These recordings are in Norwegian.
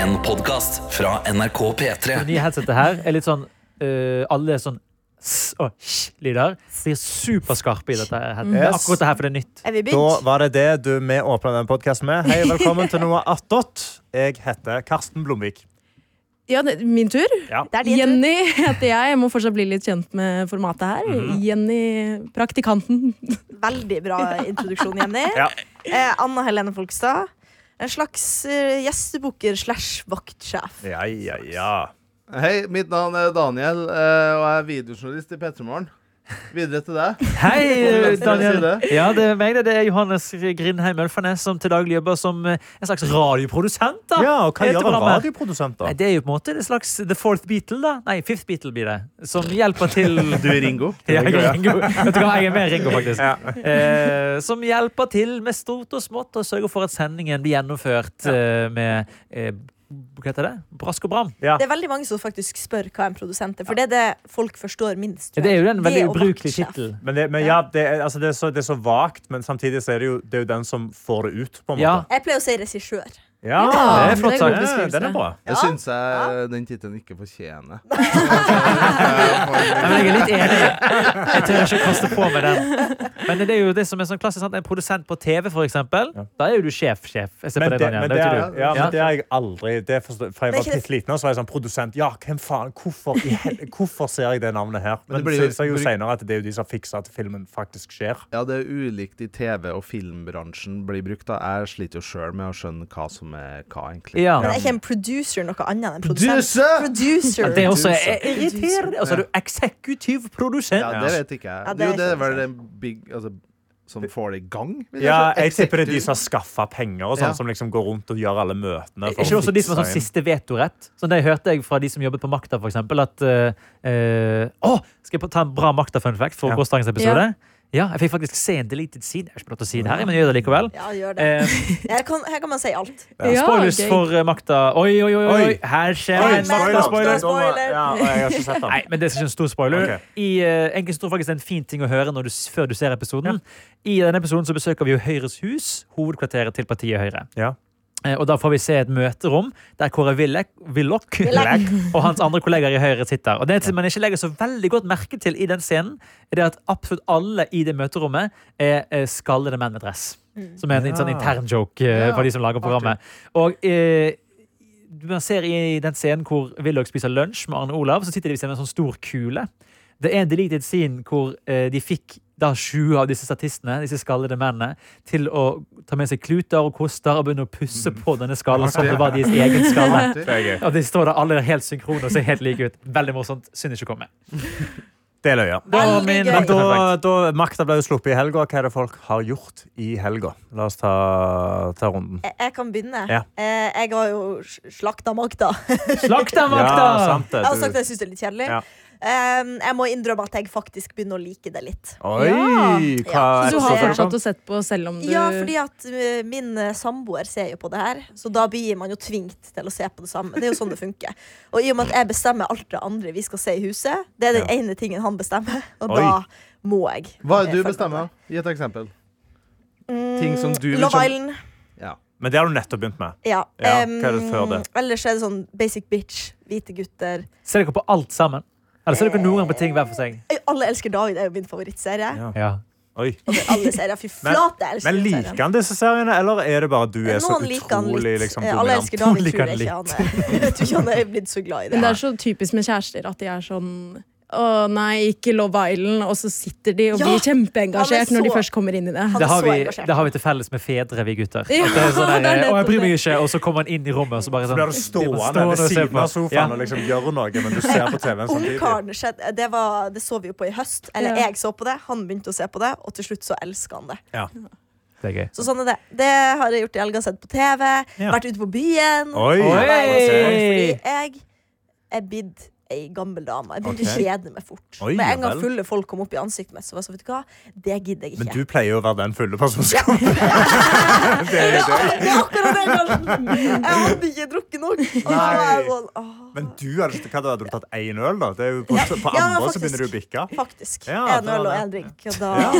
En podcast fra NRK Det P3 nye headsetet her er litt sånn eh, Alle er sånn s og sj-lyder. Blir superskarpe i dette headsetet. Mm. Det er Yes. Akkurat det her, for det er nytt. Er vi Da begynt? var det det du vi åpna den podkasten med. Hei, velkommen til noe attåt. Jeg heter Karsten Blomvik. Ja, det, min tur. Det er din tur. Jenny heter jeg. Jeg må fortsatt bli litt kjent med formatet her. Jenny praktikanten. Veldig bra introduksjon, Jenny. Ja. Eh, Anna Helene Folkstad. En slags eh, gjestebukker slash vaktsjef. Ja, ja, ja. Hei, mitt navn er Daniel, eh, og jeg er videojournalist i P3 Morgen. Videre til deg. Hei, Hvordan skal jeg Daniel. si Ja, det er meg, det. Det er Johannes Grindheim Ølfarnes, som til daglig jobber som eh, en slags radioprodusent. da. ja og hva Heter gjør en programmet. radioprodusent, da? Nei, det er jo på en måte en slags The Fourth Beatle, da. Nei, Fifth Beatle blir det. Som hjelper til Du er Ringo. Ja, jeg er Ringo. Vet du hva, jeg er med Ringo, faktisk. Ja. Eh, som hjelper til med stort og smått og sørger for at sendingen blir gjennomført eh, med eh, Hva heter det? Brask og bram. Ja. Det er veldig mange som faktisk spør hva en produsent er, for det er det folk forstår minst. tror Det er jo en jeg. veldig og ubrukelig vaktsjef. tittel. Men, det, men ja, det er, altså det, er så, det er så vagt, men samtidig så er det jo, det er jo den som får det ut. på en måte. Ja. Jeg pleier å si regissør. Ja, Ja, det er flott det er god sagt. Ja, beskrivelse. Den er bra. Ja, Jeg syns jeg eh, den tittelen ikke fortjener. Eh, Nei, men jeg er litt enig. Jeg tør ikke kaste på meg den. Men det er jo det som er sånn klassisk. Sant? En produsent på TV, for eksempel. Da er jo du sjef-sjef. Jeg ser Men på deg, det, Daniel. men Det det, vet er, jo du. ja, Ja. men det er jeg aldri det forstår, For jeg Men var ikke det- litt liten, og så var jeg sånn produsent. Ja, hvem faen? Hvorfor, i hel- hvorfor ser jeg det navnet her? Men det blir jo- så ser jeg jo blir- senere at det er jo de som fikser at filmen faktisk skjer. Ja, det er ulikt i TV- og filmbransjen blir brukt. da Jeg sliter jo sjøl med å skjønne hva som er hva, egentlig. Ja. Men er ikke en producer noe annet enn en produsent? Producer! Producer! Det er også Producer. irriterende. Og så er du eksekutiv produsent. Ja, det vet ikke jeg. Ja, det er jo, det er ikke vel den big altså, som får det i gang? vil jeg Ja, si. jeg tipper det er de som Executive. har skaffa penger, og Ja. sånn, som liksom går rundt og gjør alle møtene. Er ikke det også de som har sånn siste vetorett? Sånn det hørte jeg fra de som jobbet på Makta, for eksempel. At eh, eh, Å! Skal jeg ta en bra Makta-fun fact for Ja. gårsdagens episode? Ja. jeg fikk faktisk se en deleted scene. Jeg har ikke lov til å si det her, men jeg gjør det likevel. Ja, gjør det. Eh, Her kan, her kan man si alt. Ja, spoilers gøy. for eh, Makta. Oi, oi, oi, oi! Oi. Her skjer Oi, en spoiler, Makta-spoiler. spoiler. Ja, og jeg har ikke sett den. Nei, men det er ikke en stor spoiler. Ok. I, eh, egentlig så tror jeg faktisk det er en fin ting å høre når du, s- før du ser episoden. I denne episoden så besøker vi jo Høyres hus, hovedkvarteret til partiet Høyre. Ja. Eh, Og da får vi se et møterom der Kåre Willek- Willoch og hans andre kollegaer i Høyre sitter. Og det som man ikke legger så veldig godt merke til i den scenen, er det at absolutt alle i det møterommet er eh, skallede menn med dress. Som er en sånn Ja. intern joke eh, Ja, for de som lager programmet. Og eh, man ser i den scenen hvor Willoch spiser lunsj med Arne Olav, så sitter de ved siden av en sånn stor kule. Det er en deleted scene hvor eh, de fikk da 20 av disse statistene disse skallede mennene, til å ta med seg kluter og koster og begynne å pusse Mm. på denne skallen som det var deres egen skalle. Det er gøy. Og de står der alle er helt synkrone og ser helt like ut. Veldig morsomt. Synd ikke å komme. Det er løye. Da Veldig har min gøy. Men makta da, perfekt. da makta ble jo sluppet i helga. Hva er det folk har gjort i helga? La oss ta, ta runden. Jeg, jeg kan begynne. Ja. Eh, jeg har jo sl- slakta Magda. Slakt deg, makta! Ja, sant det. Jeg har Du- sagt at jeg syns det er litt kjedelig. Ja. Um, jeg må innrømme at jeg faktisk begynner å like det litt. Oi! Hva Ja. Så du episode har er det fortsatt sånn? å sett på selv om du Ja, fordi at eh, min eh, samboer ser jo på det her, så da blir man jo tvingt til å se på det samme. Det er jo sånn det funker. Og i og med at jeg bestemmer alt det andre vi skal se i huset, det er den Ja. ene tingen han bestemmer, og Oi. da må jeg. Hva er eh, følge det du bestemmer? med. Gi et eksempel. Mm, Ting som du vil Love som- Island. Ja. Men det har du nettopp begynt med. Ja. Ja, em, hva er det før det? Ellers er det sånn basic bitch, hvite gutter. Ser dere på alt sammen? Eller ser dere noen gang på ting hver for seg? Eh, Alle elsker David, det er jo min favorittserie. Ja. Ja. Oi. Og det er alle serier, fy Men- flate, jeg elsker Men den liker serien. han disse seriene, eller er det bare du er så Noen liker han utrolig litt. liksom, Eh, Alle dominant? elsker David, Liker tror han jeg ikke han er. Jeg tror ikke han er blitt så glad i Men det. det er så typisk med kjærester at de er sånn å nei, ikke Love Island, og så sitter de og Ja! blir kjempeengasjert Han er når de så- først kommer inn i det. Han Det har, er så vi, engasjert. det har vi til felles med fedre, vi gutter. Ja, At det er sånn der, det er og jeg bryr meg nettopp ikke, og så kommer han inn i rommet, og så bare Så sånn blir du stående ved og se siden på. av sofaen og liksom gjør noe, men du ser på TV-en samtidig. Ungkaren skjedde, det, var, det så vi jo på i høst. Eller Ja. jeg så på det, han begynte å se på det, og til slutt så elska han det. Ja. Ja. Det er gøy. Så sånn er det. Det har jeg gjort i helga. Sett på TV, Ja. vært ute på byen. Oi! Oi! Fordi jeg er bidd ei gammel dame. Jeg Ok. begynte å kjede meg fort. Oi, Med en ja gang vel. fulle folk kom opp i ansiktet mitt, så var jeg sånn, vet du hva, det gidder jeg ikke. Men du pleier jo å være den fulle personen som kommer. det var akkurat det, Karsten. Jeg hadde ikke drukket nok. Og da var jeg Nei. sånn, åh. Men du hadde ikke hva da hadde du tatt én øl, da? Det er jo på, på Ja, andre så faktisk. begynner du å bikke. Faktisk. Ja, En det var øl og det. en drink. Og da... Ja.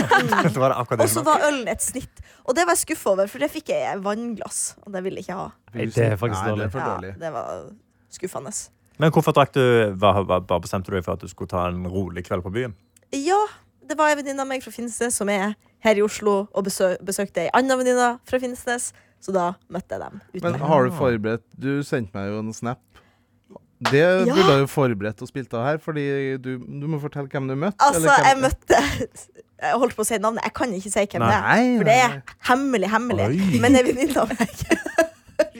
Det var det akkurat Og det så som var ølen et snitt. Og det var jeg skuffa over, for det fikk jeg i vannglass. Og det ville jeg ikke ha. Nei, det er faktisk Nei, det dårlig. er for dårlig. Ja, det var skuffende. Men hvorfor drakk du hva, hva, Bare bestemte du deg for at du skulle ta en rolig kveld på byen? Ja, det var en venninne av meg fra Finnsnes som er her i Oslo, og besø besøkte ei anna venninne fra Finnsnes. Så da møtte jeg dem. ute. Men har du forberedt Du sendte meg jo en snap. Det Ja. burde du jo forberedt og spilt av her, Fordi du, du må fortelle hvem du møtte. altså, eller hvem- jeg møtte Jeg holdt på å si navnet. Jeg kan ikke si hvem det er. Nei, For det nei. er hemmelig, hemmelig. Oi. Men ei venninne av meg.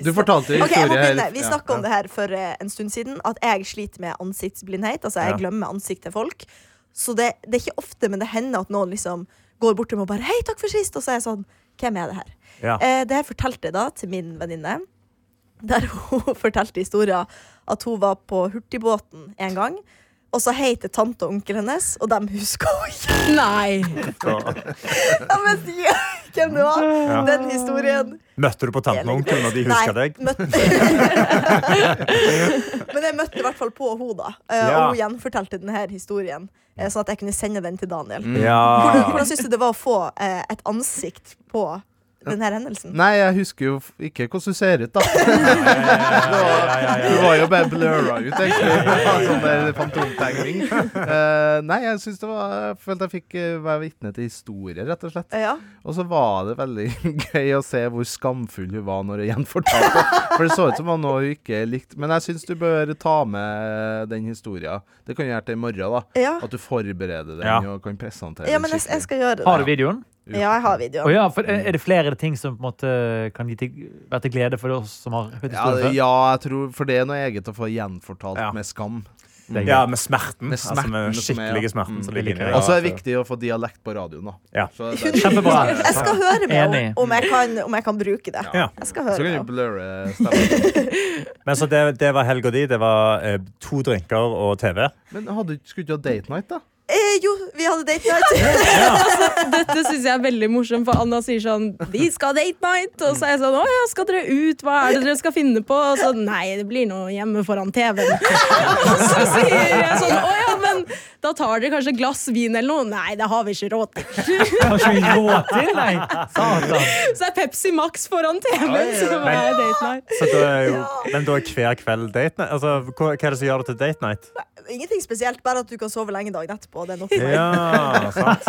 Du fortalte Ok, jeg må historie begynne. her. Vi Ja, snakka om ja. det her for eh, en stund siden, at jeg sliter med ansiktsblindhet. Altså, jeg Ja. glemmer ansikt til folk. Så det, det er ikke ofte, men det hender at noen liksom går bort til meg og bare 'Hei, takk for sist', og så er jeg sånn Hvem er det her? Ja. Eh, det her fortalte jeg da til min venninne, der hun fortalte historien at hun var på hurtigbåten en gang. Og så hei til tante og onkel hennes, og dem husker hun ikke. Nei. Så, Jeg vet ikke hvem det var. Den historien møtte du på tanten og onkelen, og de husker Nei, deg? møtte- Men jeg møtte i hvert fall på henne, da. Eh, Ja. Og hun gjenfortalte denne historien, eh, sånn at jeg kunne sende den til Daniel. Mm. Hvordan, Ja. hvordan syns du det var å få eh, et ansikt på denne hendelsen? Nei, jeg husker jo f- ikke hvordan du ser ut, da. Du var jo bare blurra ut, egentlig. Sånn der fantomtegning. Eh, nei, jeg syns det var Jeg følte jeg fikk eh, være vitne til historier, rett og slett. Eh, Ja. Og så var det veldig gøy å se hvor skamfull hun var når hun gjenfortalte. For det så ut som det var noe hun ikke likte. Men jeg syns du bør ta med den historien. Det kan du gjøre til i morgen, da. Ja. At du forbereder den Ja. og kan presentere ja, den men jeg, jeg skikkelig. skal gjøre det. Har du videoen? Ja, jeg har videoen. Å ja, for er er det flere ting som på en måte kan gi til, være til glede for oss som har hørt Ja, historien det- før? ja, jeg tror For det er noe eget å få gjenfortalt Ja. med skam. Det er ja, greit. med smerten. Med altså, smerten med som er- Mm. skikkelige smerten som ligger inni Ja, og så er det altså. viktig å få dialekt på radioen, da. Ja. Så, det er- Kjempebra. Jeg skal høre med Enig. om, om, jeg kan, om jeg kan bruke det. Ja. Jeg skal så høre kan du med. blurre stemmen. Men så det, det var helga di. Det var eh, to drinker og TV. Men hadde, du- skulle du ikke ha date night, da? Eh, jo, vi hadde date night. Dette syns jeg er veldig morsomt, for Anna sier sånn Vi skal ha date night! Og så er jeg sånn Å ja, skal dere ut? Hva er det dere skal finne på? Og så nei, det blir noe hjemme foran TV-en. Og så sier jeg sånn Å ja, men da tar dere kanskje et glass vin eller noe? Nei, det har vi ikke råd til. Har ikke vi råd til, nei! Satan. Så er Pepsi Max foran TV-en, så det er date night. Så da er jo, men da er hver kveld date night? Altså, hva, hva er det som gjør det til date night? Ingenting spesielt, bare at du kan sove lenge dagen etterpå. Det er nok. Ja, sant.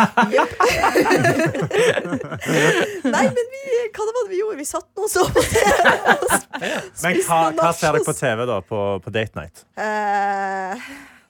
Nei, men vi, hva det var det vi gjorde? Vi satt nå og sov. Men hva, hva ser dere på TV da, på, på date night? Eh,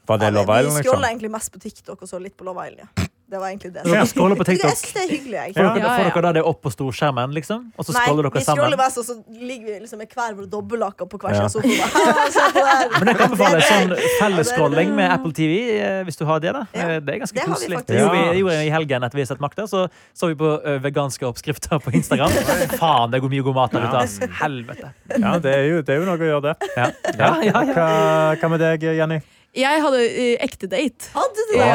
Var det Ja, men Love Island, Vi scrolla liksom? egentlig mest på TikTok og så litt på Love Island. Ja. Det var egentlig det. Dere scroller på Jeg TikTok. synes det er hyggelig, jeg. Får dere, Ja, får ja. dere da det opp på storskjermen, liksom? Og så Nei, scroller vi dere scroller sammen? mest, og så ligger vi liksom med hver vår dobbeltlake på hver Ja. sin sofa. bare, så på der. Men jeg kan anbefale sånn fellescrolling med Apple TV, eh, hvis du har det. da. Eh, Det er ganske det har vi koselig. faktisk. Det gjorde vi- Ja. det gjorde jeg i helgen etter vi har sett Makta. Så så vi på eh, veganske oppskrifter på Instagram. Faen, det går mye god mat der ute, ass. Helvete. Ja, det er, jo, det er jo noe å gjøre det. Ja, ja, ja. ja. Hva, hva med deg, Jenny? Jeg hadde eh, ekte date. Hadde du det?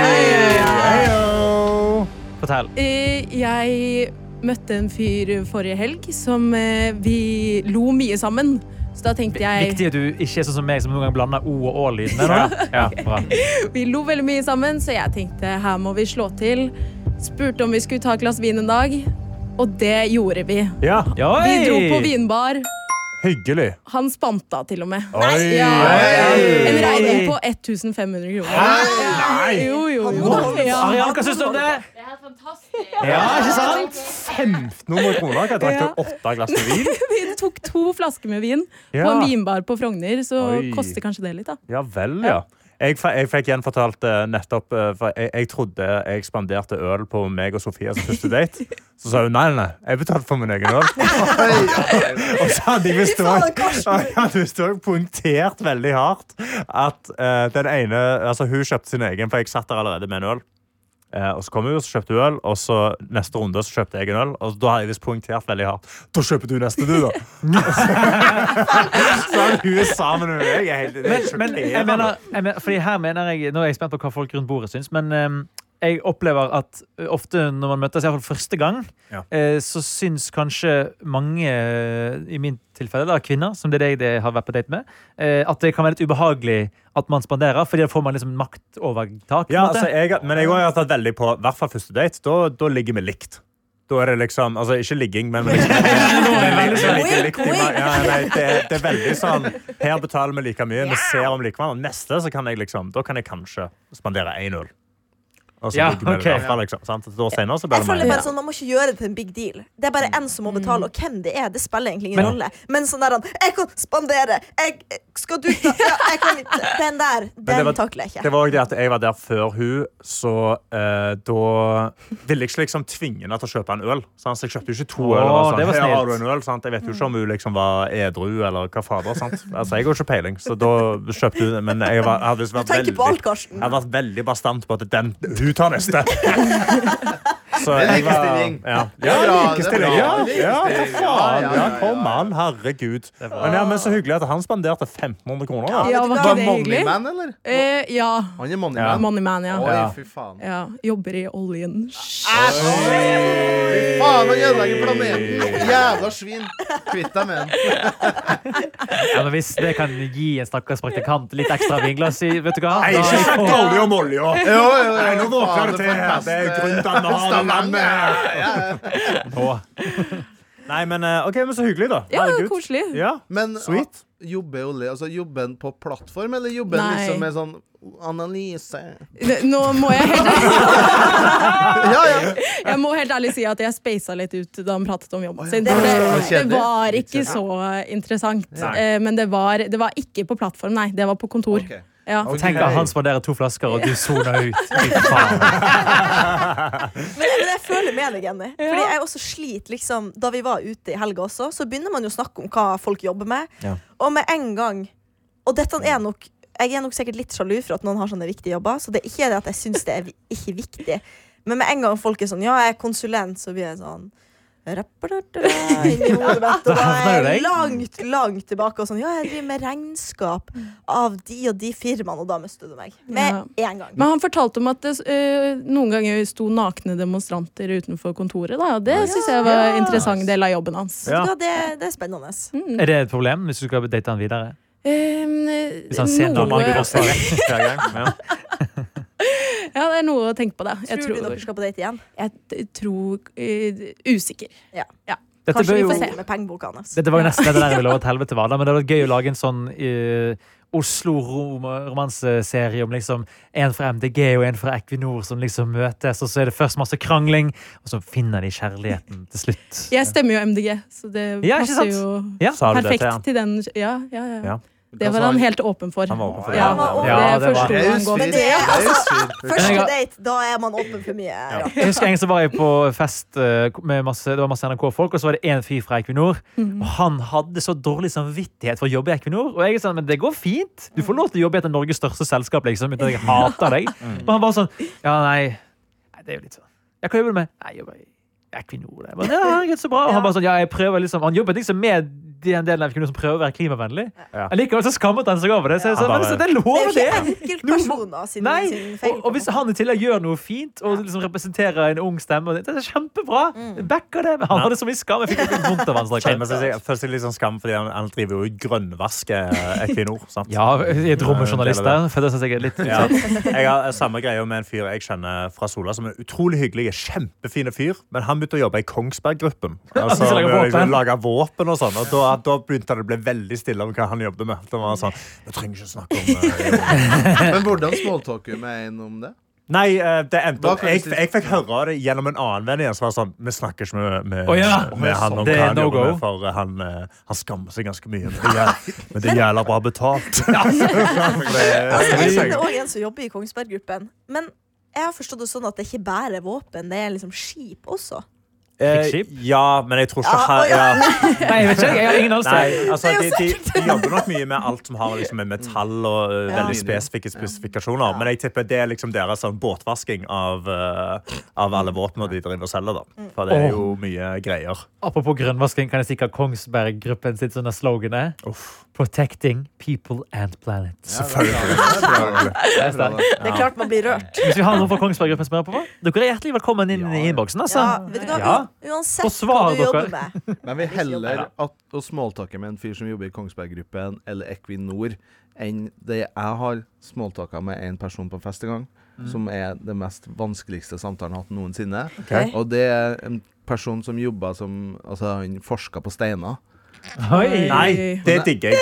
Heyo! Fortell. Eh, Jeg møtte en fyr forrige helg som eh, vi lo mye sammen. Så da tenkte jeg Viktig at du ikke er sånn som meg, som noen gang blander O og Å-lydene. nå. Ja, bra. Vi lo veldig mye sammen, så jeg tenkte her må vi slå til. Spurte om vi skulle ta et glass vin en dag, og det gjorde vi. Ja, Ja, Vi oi! dro på vinbar. hyggelig. Han spanta til og med. Oi! Ja. Oi! En regning på 1500 kroner. Nei! Jo, jo, jo. Ja. Arian, hva syns du om det? Det er helt fantastisk. Ja, ikke sant? 1500 kroner? Jeg drakk jo åtte glass med vin. Vi tok to flasker med vin på Ja. en vinbar på Frogner, så Oi. koster kanskje det litt, da. Ja vel, ja. Jeg, fe- jeg fikk gjenfortalt eh, nettopp eh, for jeg, jeg trodde jeg spanderte øl på meg og Sofia som første date. Så sa hun nei, nei, nei, jeg betalte for min egen øl. og så hadde jeg visst faen, også- jeg hadde visst også punktert veldig hardt at eh, den ene Altså, hun kjøpte sin egen, for jeg satt der allerede med en øl. Eh, og så kom hun, og så kjøpte hun øl, og så neste runde så kjøpte jeg en øl. Og da har jeg visst poengtert veldig hardt. Da kjøper du neste, du, da! så er hun sammen med meg. Jeg er helt, det er Men, helt men jeg sjokkerende. mener, jeg mener, fordi her mener jeg Nå er jeg spent på hva folk rundt bordet syns, men ehm, jeg opplever at eh, ofte når man møtes, iallfall første gang, Ja. eh, så syns kanskje mange, eh, i min tilfelle da, kvinner, som det er deg det har vært på date med, eh, at det kan være litt ubehagelig at man spanderer, fordi da får man liksom maktovertak. på en Ja, måte. altså, jeg, men jeg har tatt veldig på i hvert fall første date. Da, da ligger vi likt. Da er det liksom Altså, ikke ligging, men liksom, men vi liksom sånn, ligger likt. i meg. Ja, nei, det, det er veldig sånn Her betaler vi like mye, vi ser om like hverandre. Neste så kan jeg liksom Da kan jeg kanskje spandere 1-0. Og så Ja, ligger vi ok. i hvert fall, liksom. Sant? Et år senere så Jeg blir det føler meg. bare sånn, Man må ikke gjøre det til en big deal. Det er bare en som må betale, og hvem det er, det spiller egentlig ingen Men- rolle. Men sånn der han Jeg kan spandere! Jeg skal du ta ja, jeg kan, Den der, det den var- takler jeg Det ikke. var også det at jeg var der før hun, så eh, da ville jeg ikke liksom tvinge henne til å kjøpe en øl. Sant? Så jeg kjøpte jo ikke to Åh, øl. og var det var Sånn, Her snilt. har du en øl, sant? Jeg vet jo ikke om Mm. hun liksom var edru eller hva fader. Sant? Altså, jeg har ikke peiling, så da kjøpte hun. Men jeg var, hadde liksom Du vært tenker på alt, veldig, jeg Karsten. hadde vært veldig bastant på at den, hun tar neste. Så Det er jeg var- likestilling. Ja, Det er ja bra, det er likestilling. bra. Ja, Det er ja, for likestilling. faen. Ja, Ja, ja, ja, kom ja. an. Herregud. Men, ja, men så hyggelig at han spanderte 1500 kroner. Da. Ja, var ikke Var det hyggelig? Moneyman, eller? Eh, ja. Han er Moneyman. Ja. Moneyman, ja. Oi, Ja. fy faen. ja. Jobber i oljen. Shh. Fy faen, han ødelegger planeten! Jævla svin! Kvitt deg med den. Ja, men hvis det kan gi en stakkars praktikant litt ekstra vinglass i Vet du hva? Nei, Da- ikke snakk dårlig om olja! Jo, jo, jo, Nei, nå våkner faen, du det til her. Det er fantastisk. grunt av Stavanger. navnet. Ja, ja. Å. Nei, men eh, ok, men så hyggelig, da. Ja, Herregud. koselig. Ja. Men Sweet. ah, jobber Olli altså, jobber han på plattform, eller jobber han Nei. liksom med sånn analyse? Det- Nå må jeg helt Ja, ja. Jeg må helt ærlig si at jeg spasa litt ut da han pratet om jobben sin. Det Det, var det kjedelig. var ikke så interessant. Nei. Eh, Men det var, det var ikke på plattform, nei. Det var på kontor. Ok. Ja. Ok. Tenk at han spanderer to flasker, og du soner ut. Fy faen. Men, men jeg føler med deg, Jenny. Fordi jeg også sliter liksom Da vi var ute i helga også, så begynner man jo å snakke om hva folk jobber med. Ja. Og med en gang Og dette er nok jeg er nok sikkert litt sjalu for at noen har sånne viktige jobber. Så det er ikke det at jeg syns det er vi- ikke viktig. Men med en gang folk er sånn Ja, jeg er konsulent, så blir jeg sånn rappadadada, inni hodet mitt, Og da er jeg langt, langt tilbake og sånn Ja, jeg driver med regnskap av de og de firmaene, og da mister du meg. Med en gang. Men han fortalte om at det eh, noen ganger sto nakne demonstranter utenfor kontoret. Da. og Det syns jeg var en interessant del av jobben hans. Ja. Ja, det, det er spennende. Mm. Er det et problem hvis du skal date han videre? Eh, Hvis han ser noe, noen andre ja, også. Hver gang. Ja. det er noe å tenke på, det. Jeg Tror, du tror, dere skal på date igjen? jeg tror eh, Usikker. Dette Kanskje bør vi jo får se med pengeboka hans. Dette var jo nesten det der jeg ville over til helvete var, da, men det hadde vært gøy å lage en sånn eh, Oslo-romanseserie om liksom en fra MDG og en fra Equinor som liksom møtes, og så er det først masse krangling, og så finner de kjærligheten til slutt. Jeg stemmer jo MDG, så det Ja, ikke passer sant? jo Ja. Sa du det til han? perfekt til den. Ja, ja, ja. Ja. Det var han helt åpen for. Han var åpen for det. Ja, Han var åpen. Ja, det det var- forsto Det er han jo godt. Men svin. det er Det er jo altså svin. Første date, da er man åpen for mye. Ja. Jeg husker en gang så var jeg på fest eh, med masse, det var masse NRK-folk, og så var det en fyr fra Equinor. Mhm. Og han hadde så dårlig samvittighet for å jobbe i Equinor. Og jeg er sånn, men det går fint. Du Mhm. får lov til å jobbe i et av Norges største selskap, liksom, uten at jeg hater deg. Men Mm. han var sånn, ja, nei, nei det er jo litt sånn. Ja, hva jobber du med? Nei, jeg jobber i Equinor. Jeg bare, ja, herregud, så bra. Og han bare sånn, ja, jeg prøver liksom, han jobbet liksom med den delen av Equinor som prøver å være klimavennlig. Ja. Likevel så skammet han seg over det. Så jeg sa, Ja. men så det er Det er lov jo det. ikke enkeltpersoner sin, Nei, sin feil. og, og hvis han i tillegg gjør noe fint og liksom representerer en ung stemme, og det, det er kjempebra! Mm. Backer det. Men han hadde så mye skam. Jeg fikk litt vondt av han. Kjenner stakkar. seg- Jeg føler seg litt sånn skam fordi han, han driver jo og grønnvasker eh, Equinor. Sant? Ja, i et rom med journalister. Føler jeg sikkert litt Ja. Jeg har eh, samme greia med en fyr jeg kjenner fra Sola, som er utrolig hyggelig. Kjempefine fyr, men han begynte å jobbe i Kongsberg-gruppen. Altså, så lager med å liksom våpen. lage våpen og sånn. Og da, da begynte det å bli veldig stille om hva han jobbet med. Da var han sånn, jeg trenger ikke snakke om eh, jobb». Men hvordan smalltalker du med en om det? Nei, eh, det endte Hva opp kan du jeg, si? jeg fikk høre det gjennom en annen venn igjen, som var sånn Vi snakker ikke med, med, Å ja, med han om det hva er han no jobber go. med, for eh, han, eh, han skammer seg ganske mye. Men det er, men det er jævla bra betalt. Altså, jeg Det- Eh, kjenner også en som jobber i Kongsberg-gruppen. Men jeg har forstått det sånn at det ikke bare er våpen, det er liksom skip også. Eh, Krigsskip? ja, men jeg tror ikke han ja. Nei, jeg vet ikke. Jeg har ingen anelse. Nei, altså, de, de, de jobber nok mye med alt som har liksom, med metall og eh, veldig spesifikke spesifikasjoner. Men jeg tipper det er liksom deres sånn, båtvasking av, eh, av alle våpnene de driver og selger. Da. For det er jo mye greier. Apropos grønnvasking, kan jeg si hva Kongsberg-gruppen sitt sånne slogan er? Protecting people and planet. Selvfølgelig. Det er sterkt. Det er klart man blir rørt. Hvis vi har noen fra Kongsberg-gruppen som hører på, dere er hjertelig velkommen inn i innboksen. Altså. Ja, vet du hva? Ja. U- Uansett Forsvar hva du jobber dere. med. Men vi heller at å smalltake med en fyr som jobber i Kongsberg-gruppen eller Equinor, enn det jeg har smalltaka med en person på fest en gang, som er det mest vanskeligste samtalen jeg har hatt noensinne. Ok. Og det er en person som jobba som Altså, han forska på steiner. Oi. Nei, det digger jeg.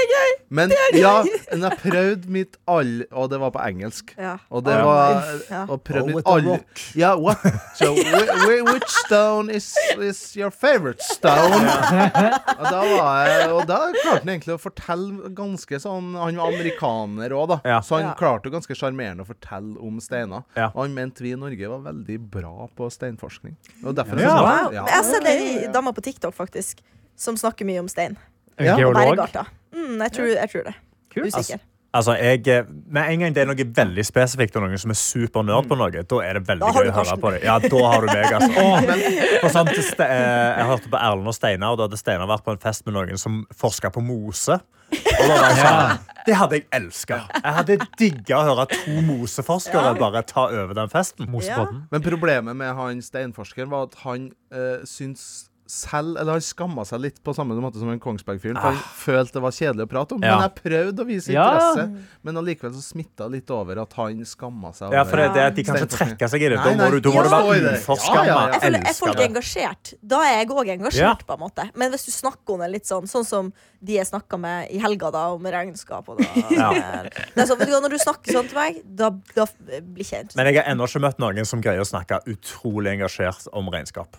Men ja, men jeg prøvde mitt all Og det var på engelsk. Ja. Og det Ja. var Ja. Og prøvde Oh, mitt with a all rock. Ja, what? So, whi- whi- which stone is, is your favorite stone? Og da, var jeg, og da klarte han egentlig å fortelle ganske sånn Han var amerikaner òg, da. Ja. Så han Ja. klarte jo ganske sjarmerende å fortelle om steiner. Ja. Og han mente vi i Norge var veldig bra på steinforskning. Og derfor Ja. Wow. Ja. Men Jeg har sett ei dame på TikTok faktisk som snakker mye om stein. En Og geolog. bæregarter. Mm, jeg, tror, jeg tror det. Kult. Usikker. Altså, jeg, eh, Med en gang det er noe veldig spesifikt og noen som er supernerd på noe, da er det veldig Da har gøy du å høre Karsten. på det. Ja, da har du meg, altså. Åh, for sånn, til Ste- eh, jeg hørte på Erlend og Steinar, og da hadde Steinar vært på en fest med noen som forska på mose. Og da var jeg sånn, Det hadde jeg elska. Jeg hadde digga å høre to moseforskere bare ta over den festen. Mosebåten. Men problemet med han steinforskeren var at han eh, syns selv, eller han skamma seg litt på samme måte som en Kongsberg-fyren. For han følte det var kjedelig å prate om. Ja. Men jeg prøvde å vise Ah. Ja. interesse. Men allikevel så smitta litt over at han skamma seg. Ja, for det, over- er det at De kan ikke trekke seg i det. Da må du, da må du Ja. Stå i være det. uforskamma. Ja, ja, ja. Jeg føler, er folk Elsker det. engasjert? Da er jeg òg engasjert. Ja. på en måte Men hvis du snakker om det litt sånn Sånn som de jeg snakka med i helga, da om regnskap og da, Ja. det er sånn, vet du hva, Når du snakker sånn til meg, da, da blir ikke jeg interessert. Men jeg har ennå ikke møtt noen som greier å snakke utrolig engasjert om regnskap.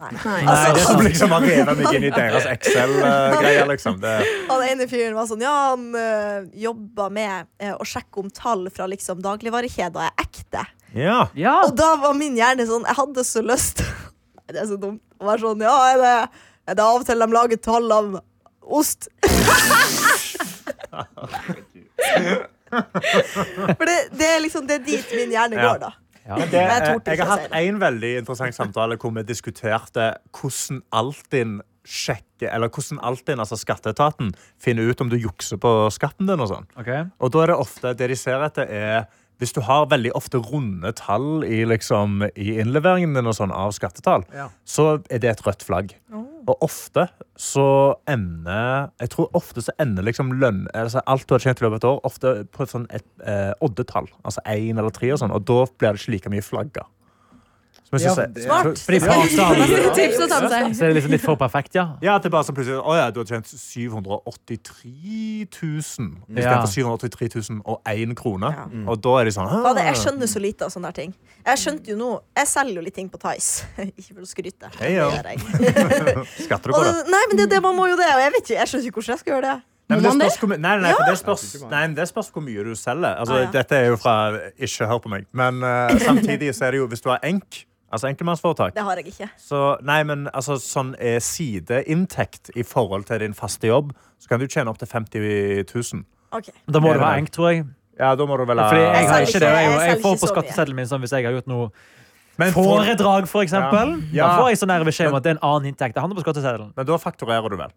Nei. Nei. Nei, det er Som sant. liksom har revet meg inn i deres Excel-greier, liksom. Det, Han ene fyren var sånn Ja, han øh, jobba med øh, å sjekke om tall fra liksom dagligvarekjeder er ekte. ja. Ja. Og da var min hjerne sånn Jeg hadde så lyst Det er så dumt å være sånn Ja, er det, er det av og til de lager tall av ost? For det, det er liksom Det er dit min hjerne Ja. går, da. Men det, Jeg eh, torde ikke jeg har å si hatt en veldig interessant samtale hvor vi diskuterte hvordan Altinn sjekker, eller hvordan Altinn, altså skatteetaten, finner ut om du jukser på skatten din og sånn. Ok. Og da er det ofte det de ser etter, er hvis du har veldig ofte runde tall i, liksom, i innleveringen din og sånn av skattetall, så er det et rødt flagg. Og ofte så ender Jeg tror ofte så ender liksom lønn altså Alt du har tjent i løpet av et år, ofte på et sånn et eh, oddetall. Altså én eller tre og sånn. Og da blir det ikke like mye flagga. Som jeg Ja, synes er- det- Smart. Fordi på avstand Neste tips å ta med seg. så er det liksom litt for perfekt, ja. Ja, at det er bare sånn plutselig Å ja, du har tjent 783 000 Ja. Mm. istedenfor 783 000 og én krone. Ja. Og da er de sånn Fader, jeg skjønner så lite av sånne her ting. Jeg skjønte jo nå Jeg selger jo litt ting på Tice. Ikke for å skryte. Hei, ja. Det gjør jeg. Skatter du på Og, det? nei, men det, er det man må jo det. Og jeg vet ikke, jeg skjønner ikke hvordan jeg skal gjøre det. Nei, men Må det man det? spørs, hvor, my- nei, nei, for det spørs, Jeg tror ikke man- nei, men det spørs hvor mye du selger. Altså, Ah, ja. Dette er jo fra Ikke hør på meg. Men eh, samtidig så er det jo hvis du har enk, altså enkeltmannsforetak, Det har jeg ikke. så nei, men altså, sånn er sideinntekt i forhold til din faste jobb, så kan du tjene opptil 50 000. Ok. Da må du ha enk, tror jeg. Ja, da må du vel ha Fordi jeg har selger ikke ikke- det. og Jeg, jeg jeg selger får ikke på så mye. skatteseddelen min sånn hvis jeg har gjort noe Men for- foredrag, for eksempel. Ja. Da får jeg sånn her beskjed om at det er en annen inntekt. Det handler på skatteseddelen. Men da fakturerer du vel?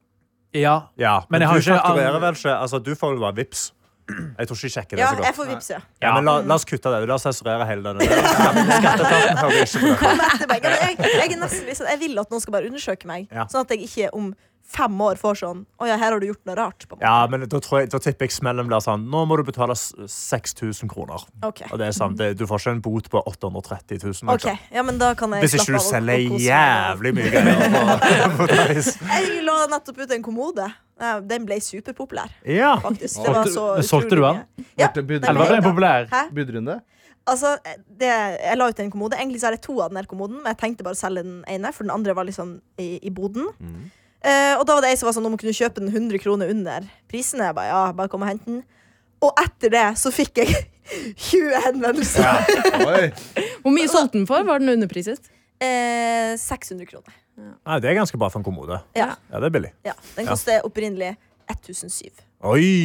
Ja. Ja, Men men, jeg har du ikke- fakturerer vel ikke Altså, du får vel bare vips. Jeg tror ikke de sjekker det Ja, så jeg godt. får vippse. Ja. Ja, men la, la oss kutte det. La oss sensurere hele denne. Skatteetaten hører ikke på det. Etter meg. Jeg, jeg, er nesten litt sånn- jeg vil at noen skal bare undersøke meg, Ja. sånn at jeg ikke om fem år får sånn Å ja, her har du gjort noe rart. På en måte. Ja, men da, tror jeg, da tipper jeg smellen blir sånn Nå må du betale s- 6000 kroner. Ok. Og det er sant, det, Du får ikke en bot på 830 000. liksom. Ok, ja, men da kan jeg Hvis ikke du slappe av og- selger og kose meg. jævlig mye greier. på- på Dice. Jeg la nettopp ut en kommode. Eh, Den ble superpopulær, Ja. faktisk. Det var så Men solgte du utrolig den? mye. Ja, Ble det budrunde? den Eller var ble den helt- populær? Hæ? Budrunde? Altså, det, jeg la ut en kommode. Egentlig så er det to av den her kommoden, men jeg tenkte bare å selge den ene, for den andre var liksom i, i boden. Eh, og da var det ei som var sånn om hun kunne kjøpe den 100 kroner under prisen. Jeg bare, ja, bare kom og hent den. Og etter det så fikk jeg 20 henvendelser. Oi. Hvor mye solgte den for? Var den underpriset? Eh, 600 kroner. Nei, det er ganske bra for en kommode. Ja. Ja, det er billig. ja. Den Ja. koster opprinnelig 1007. Oi!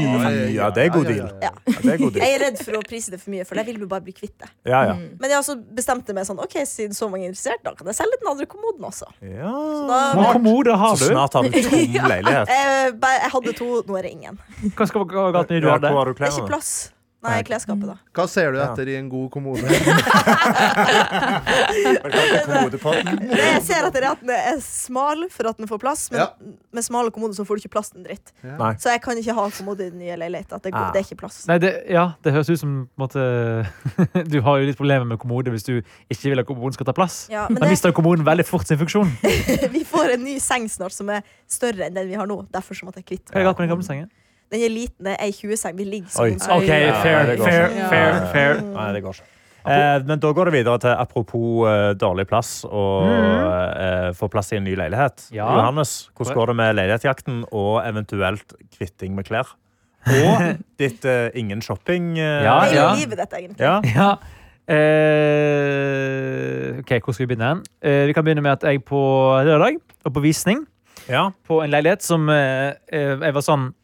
Ja, det er god Ja, deal. ja, ja, ja. Ja, det er god deal. Jeg er redd for å prise det for mye, for jeg vil jo bare bli kvitt det. Ja, ja. Men jeg også bestemte meg sånn, ok, siden så mange er interessert, da kan jeg selge den andre kommoden også. ja. Hvor mange Da, kommoder Så har du? snart har du tom leilighet. eh, bare- jeg hadde to, nå er det ingen. Det Hva skal hva galt med du Ja, hadde? hvor har du er ikke klærne? plass. Nei, klesskapet, da. Hva ser du Ja. etter i en god kommode? Kommodepodden? Det jeg ser etter, er at den er smal for at den får plass, men Ja. med smale kommoder så får du ikke plass til en dritt. Nei. Så jeg kan ikke ha kommode i den nye leiligheten. Det, Ah. går- det er ikke plass. Nei, det, ja, det høres ut som på en måte, Du har jo litt problemer med kommode hvis du ikke vil at kommoden skal ta plass. Ja, men Da det, mister kommoden veldig fort sin funksjon. Hva vi får en ny seng snart som er større enn den vi har nå. Derfor så måtte jeg kvitte er galt med den gamle sengen? Den er liten, det er ei 20-seng. Vi ligger som Oi. en OK, Ja, fair, det går fair, ikke. fair, Ja. fair. Nei, det går ikke. Eh, men da går det videre til apropos eh, dårlig plass og eh, få plass i en ny leilighet. Mm. Ja. Johannes, hvordan går det med leilighetsjakten og eventuelt kvitting med klær? Og ditt eh, ingen shopping. Ja, eh, Det er Ah, ja. jo livet dette, egentlig. ja. Ja. Eh, OK, hvor skal vi begynne? hen? Eh, vi kan begynne med at jeg på lørdag var på visning Ja. på en leilighet som eh, eh, jeg var sånn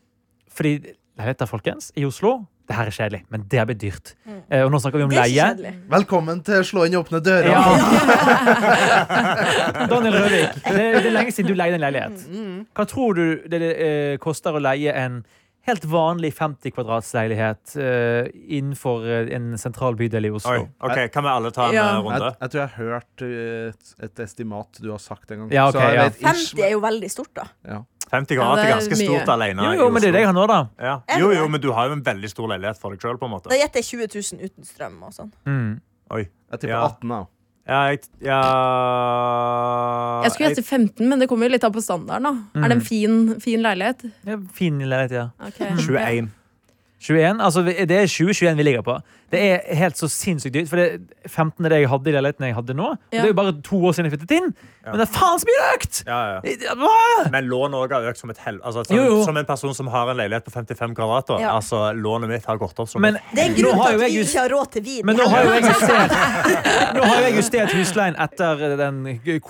Fordi leiligheter, folkens, i Oslo det her er kjedelig, men det har blitt dyrt. Eh, og nå snakker vi om Mm. Det er leie. ikke kjedelig. Velkommen til Slå inn åpne dører. Daniel Røvik, det, det er lenge siden du leide en Mm, leilighet. Hva tror du det eh, koster å leie en helt vanlig 50 kvadratsleilighet eh, innenfor eh, en sentral bydel i Oi, Oslo? ok, Kan vi alle ta en Ja. eh, Jeg, runde? jeg tror jeg har hørt eh, et, et estimat du har sagt en gang. Ja, ok, Så jeg ja. vet ish, 50 er jo veldig stort, da. 50 grader Ja, er det er ganske mye. stort alene. Jo, i jo, men det er det Oslo. jeg har nå, da. ja. Er det jo, det? jo, men du har jo en veldig stor leilighet for deg sjøl, på en måte. Da gjetter jeg 20 000 uten strøm og sånn. Mm. men jeg tipper Ja. 18. da Ja, jeg, ja, Jeg skulle gjette 15, men det kommer jo litt an på standarden. da Er det en fin, fin leilighet? Ja, fin leilighet, ja. Ok. 21. 21, altså vi- Det er 2021 vi ligger på. Det er helt så sinnssykt dyrt. For det 15 er det jeg hadde i leiligheten jeg hadde nå. Og Ja. Det er jo bare to år siden jeg flyttet inn. Men det er faen så mye det er økt! Ja, ja. Hva? Men lånet også har økt som et hell... Altså, som, Jo, jo. som en person som har en leilighet på 55 kvadrat. Ja. Altså, lånet mitt har gått opp som Men et Det er en nå grunn har til jo at jeg vi just- ikke har råd til vin. Men nå har jo jeg justert Nå har jo jeg justert husleien etter den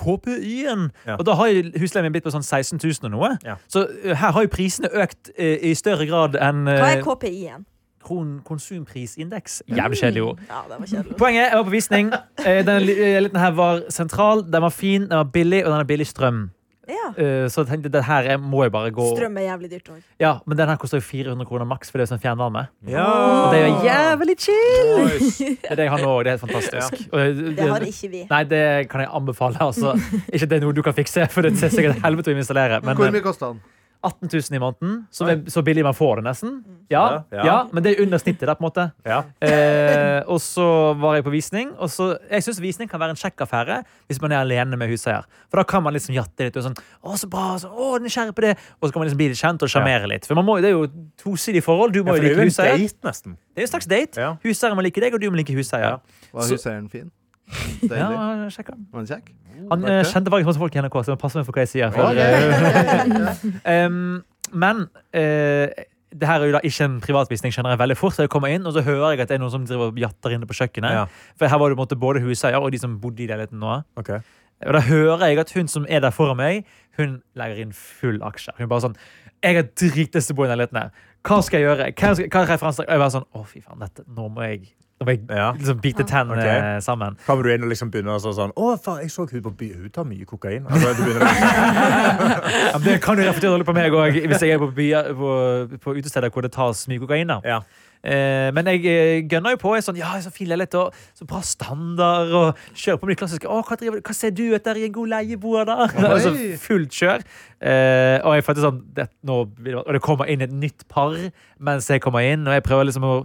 KPI-en. Ja. Og da har jo husleien min blitt på sånn 16 000 og noe. Ja. Så eh, her har jo prisene økt eh, i større grad enn Hva er eh, KPI-en? kron konsumprisindeks. Jævlig kjedelig ord. Ja, det var kjedelig. Poenget, jeg var på visning. Eh, Den li- eh, leiligheten her var sentral, den var fin, den var billig, og den har billig strøm. Ja. Eh, Så jeg tenkte den her er- må jeg bare gå Strøm er jævlig dyrt òg. Ja, Men den her koster jo 400 kroner maks, for det er sånn fjernvarme. ja. Og det er jo jævlig chill! Nice. Det er det jeg har nå òg. Det er helt fantastisk. Og, eh, det- Det har ikke vi. Nei, det kan jeg anbefale. altså. Ikke at det er noe du kan fikse, for det er sikkert helvete å installere. Men Hvor eh, mye kosta den? 18 000 i måneden, som er så billig man får det, nesten. Mm. Ja, Ja. ja men det er under snittet, da, på en måte. ja. Eh, og så var jeg på visning. Og så, jeg syns visning kan være en kjekk affære hvis man er alene med huseier. For da kan man liksom jatte litt og sånn Å, så bra! Så, å, nysgjerrig på det! Og så kan man liksom bli litt kjent og sjarmere litt. For man må, jo- det er jo tosidig forhold. Du Ja, må for jo det er like jo huseier. en date, nesten. Det er jo en slags date. Ja. Huseier må like deg, og du må like huseier. Var Så- huseieren fin? Ja, Deilig. sjekk han. Var den kjekk? Han eh, kjente faktisk masse folk i NRK, så jeg må passe meg for hva jeg sier. For, eh, um, men eh, det her er jo da ikke en privatvisning, skjønner jeg veldig fort. Så jeg kommer inn, og så hører jeg at det er noen som driver og jatter inne på kjøkkenet. Ja. For her var det på en måte både huseier og de som bodde i leiligheten nå. Ok. Og da hører jeg at hun som er der foran meg, hun legger inn full aksje. Hun bare sånn Jeg har dritlyst til å bo i den leiligheten her. Hva skal jeg gjøre? Hva, skal, hva er referanser? Og jeg bare sånn Å, fy faen, dette Nå må jeg, nå må jeg Ja. liksom bite tennene Ok. eh, sammen. Kommer du inn og liksom begynner å så sånn Å, faen, jeg så hun på by. Hun tar mye kokain. Altså, du begynner å- Ja, men det kan du reflektere dårlig på meg òg, hvis jeg er på, byer, på, på utesteder hvor det tas mye kokain. da. ja. Eh, men jeg eh, gønner jo på. Jeg er sånn, ja, så fin leilighet og så bra standard. Og kjører på med de klassiske Å, hva, driver, du- hva ser du etter i en god leieboer, da? altså, fullt kjør. Eh, og jeg følte sånn det, nå, blir det- Og det kommer inn et nytt par mens jeg kommer inn, og jeg prøver liksom å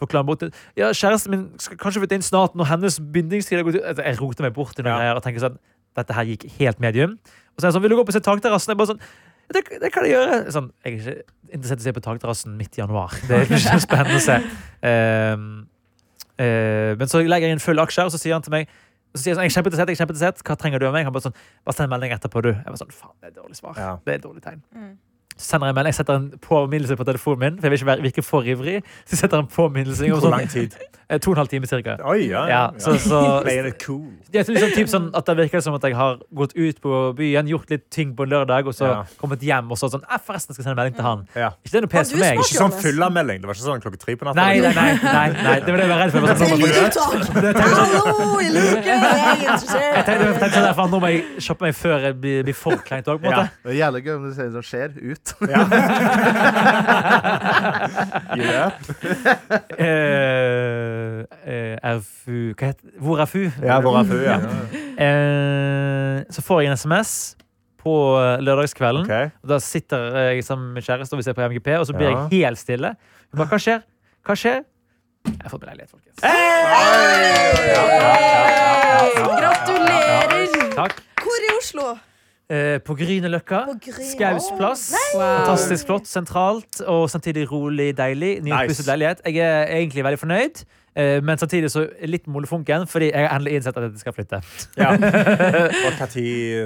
forklare bort det. Ja, kjæresten min skal kanskje flytte inn snart når hennes bindingstid har gått ut. Altså, jeg roter meg bort i noen Ja. greier og tenker sånn Dette her gikk helt medium. Og så er jeg sånn, vil du gå opp og se takterrassen? Jeg bare sånn det, det kan jeg gjøre. Sånn, jeg er ikke interessert i å se på takterrassen midt i januar. Det er ikke spennende å se. Ehm, eh, men så legger jeg inn full aksje, og så sier han til meg så sier jeg sånn, jeg er kjempeinteressert, jeg er kjempeinteressert. Hva trenger du av meg? Han bare sånn, bare send en melding etterpå, du. Jeg bare sånn, faen, det er et dårlig svar. Ja. Det er et dårlig tegn. Mm. Så sender jeg en melding, jeg setter en påminnelse på telefonen min, for jeg vil ikke være, virke for ivrig. Så jeg setter en påminnelse. om Hvor sånn, lang tid? Eh, To og en halv time cirka. Oi, ja. Ja, så, så, Playing it cool. det er liksom typ sånn at det virker som at jeg har gått ut på byen, gjort litt ting på en lørdag, og så Ja. kommet hjem og så sånn «Eh, Forresten, jeg skal sende en melding til han. Ja. Ikke det er noe pes Mm. du for meg. smart, Ikke sånn Johannes. fyllemelding. Det var ikke sånn klokka tre på natta. Nei, nei, nei, nei, nei. Det var det jeg var redd for. Jeg var sånn, nå må jeg- Linjetak! Hallo, i luke! Jeg er sånn. Jeg interessert. tenkte, jeg tenkte sånn der, faen, Nå må jeg shoppe meg før jeg blir, blir for kleint òg. Ja. Det er jævlig gøy om du sier sånn skjer ut. Ja. Uh, RFU Hva heter Hvor er FU? Ja, hvor er hun, ja. Eh, så får jeg en SMS på eh, lørdagskvelden. Ok. Og Da sitter jeg sammen med kjæresten og vi ser på MGP, og så blir Ja. jeg helt stille. Hun bare, hva skjer? Hva skjer? Jeg har fått meg leilighet, folkens. Gratulerer! Takk. Hvor i Oslo? Eh, på Grünerløkka. På Gryn- Skaus plass. Fantastisk flott, sentralt og samtidig rolig, deilig. Nypusset Nice. leilighet. Jeg er egentlig veldig fornøyd. eh, Men samtidig så litt molefonken, fordi jeg har endelig innsett at jeg skal flytte. Ja. Og når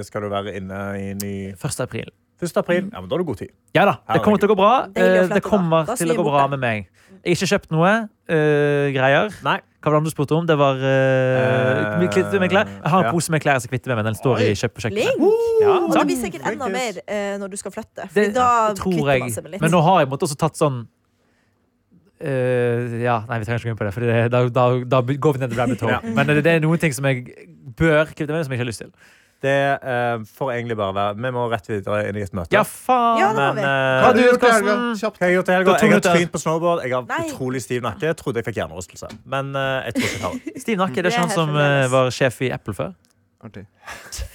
skal du være inne i ny 1. april. 1. april? Ja, men da har du god tid. Ja da, det kommer til å gå bra. Eh, Deilig å flytte, Det kommer da. Da til å snur gå vi bra opp med meg. Jeg har ikke kjøpt noe eh, greier. Nei. Hva var det andre du spurte om? Det var eh, Eh, kvitte med klær. Jeg har ja. en pose med klær jeg skal kvitte meg med. Den står i Oi, kjøttprosjektet. Flink! Ja, Og det sant? blir sikkert enda mer eh, når du skal flytte. For Det da tror kvitter man jeg. seg med litt. Men nå har jeg måtte også tatt sånn eh, ja, Nei, vi trenger ikke gå inn på det, for det, da, da, da går vi ned til rabbit hole. Ja. Men det, det er noen ting som jeg bør kvitte meg med, som jeg ikke har lyst til. Det eh, får egentlig bare være Vi må rett videre inn i et møte. Ja, faen! Ja, det må Men, vi. eh, Hva har du Har gjort, i helga? Karsten? Kjapt. Hva har jeg gjort i helga? Det var to Jeg har minutter. trint på snowboard. Jeg har Nei. utrolig stiv nakke. Jeg trodde jeg fikk hjernerystelse, men eh, jeg tror ikke jeg har det. Stiv nakke, det er Det er ikke han helt som eh, fremdeles. var sjef i Apple før? Artig.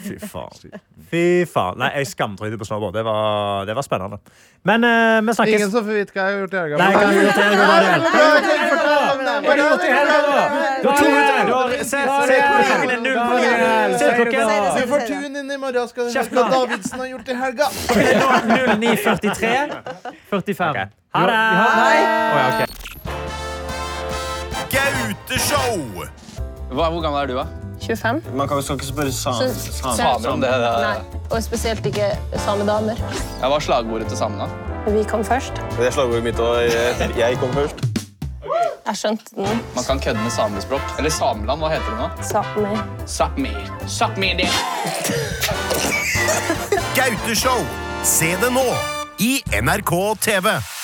Fy faen. Fy faen. Nei, jeg skamtrydde på snowboard. Det var, det var spennende. Men eh, vi snakkes. Ingen som får vite hva jeg har gjort i helga. Nei, hva har du gjort i helga, Daniel? Hva har jeg gjort i Hva helga? har du gjort i helga, da? Du har to minutter. Du har- Se se klokken er null. Se klokken. Si det, Du si får det, si det. tune inn i morgen, skal du Kjeft høre hva nå. Davidsen har gjort i helga. Det er nå 09.43. 45. Ok. Ha det! Nei. Å, ja, ok. Gauteshow! Hva, hvor gammel er du, da? 25. Man kan jo skal ikke spørre sam- Så- sam- sam- Samer om det. det. Nei, og spesielt ikke samedamer. Ja, Hva er slagordet til samene? Vi kom først. Det er slagordet mitt, og jeg, jeg kom først. Jeg skjønte den. Man kan kødde med samespråk. Eller Sameland, hva heter det nå? Sami. Sápmi. Sápmi det. Gauteshow! Se det nå i NRK TV.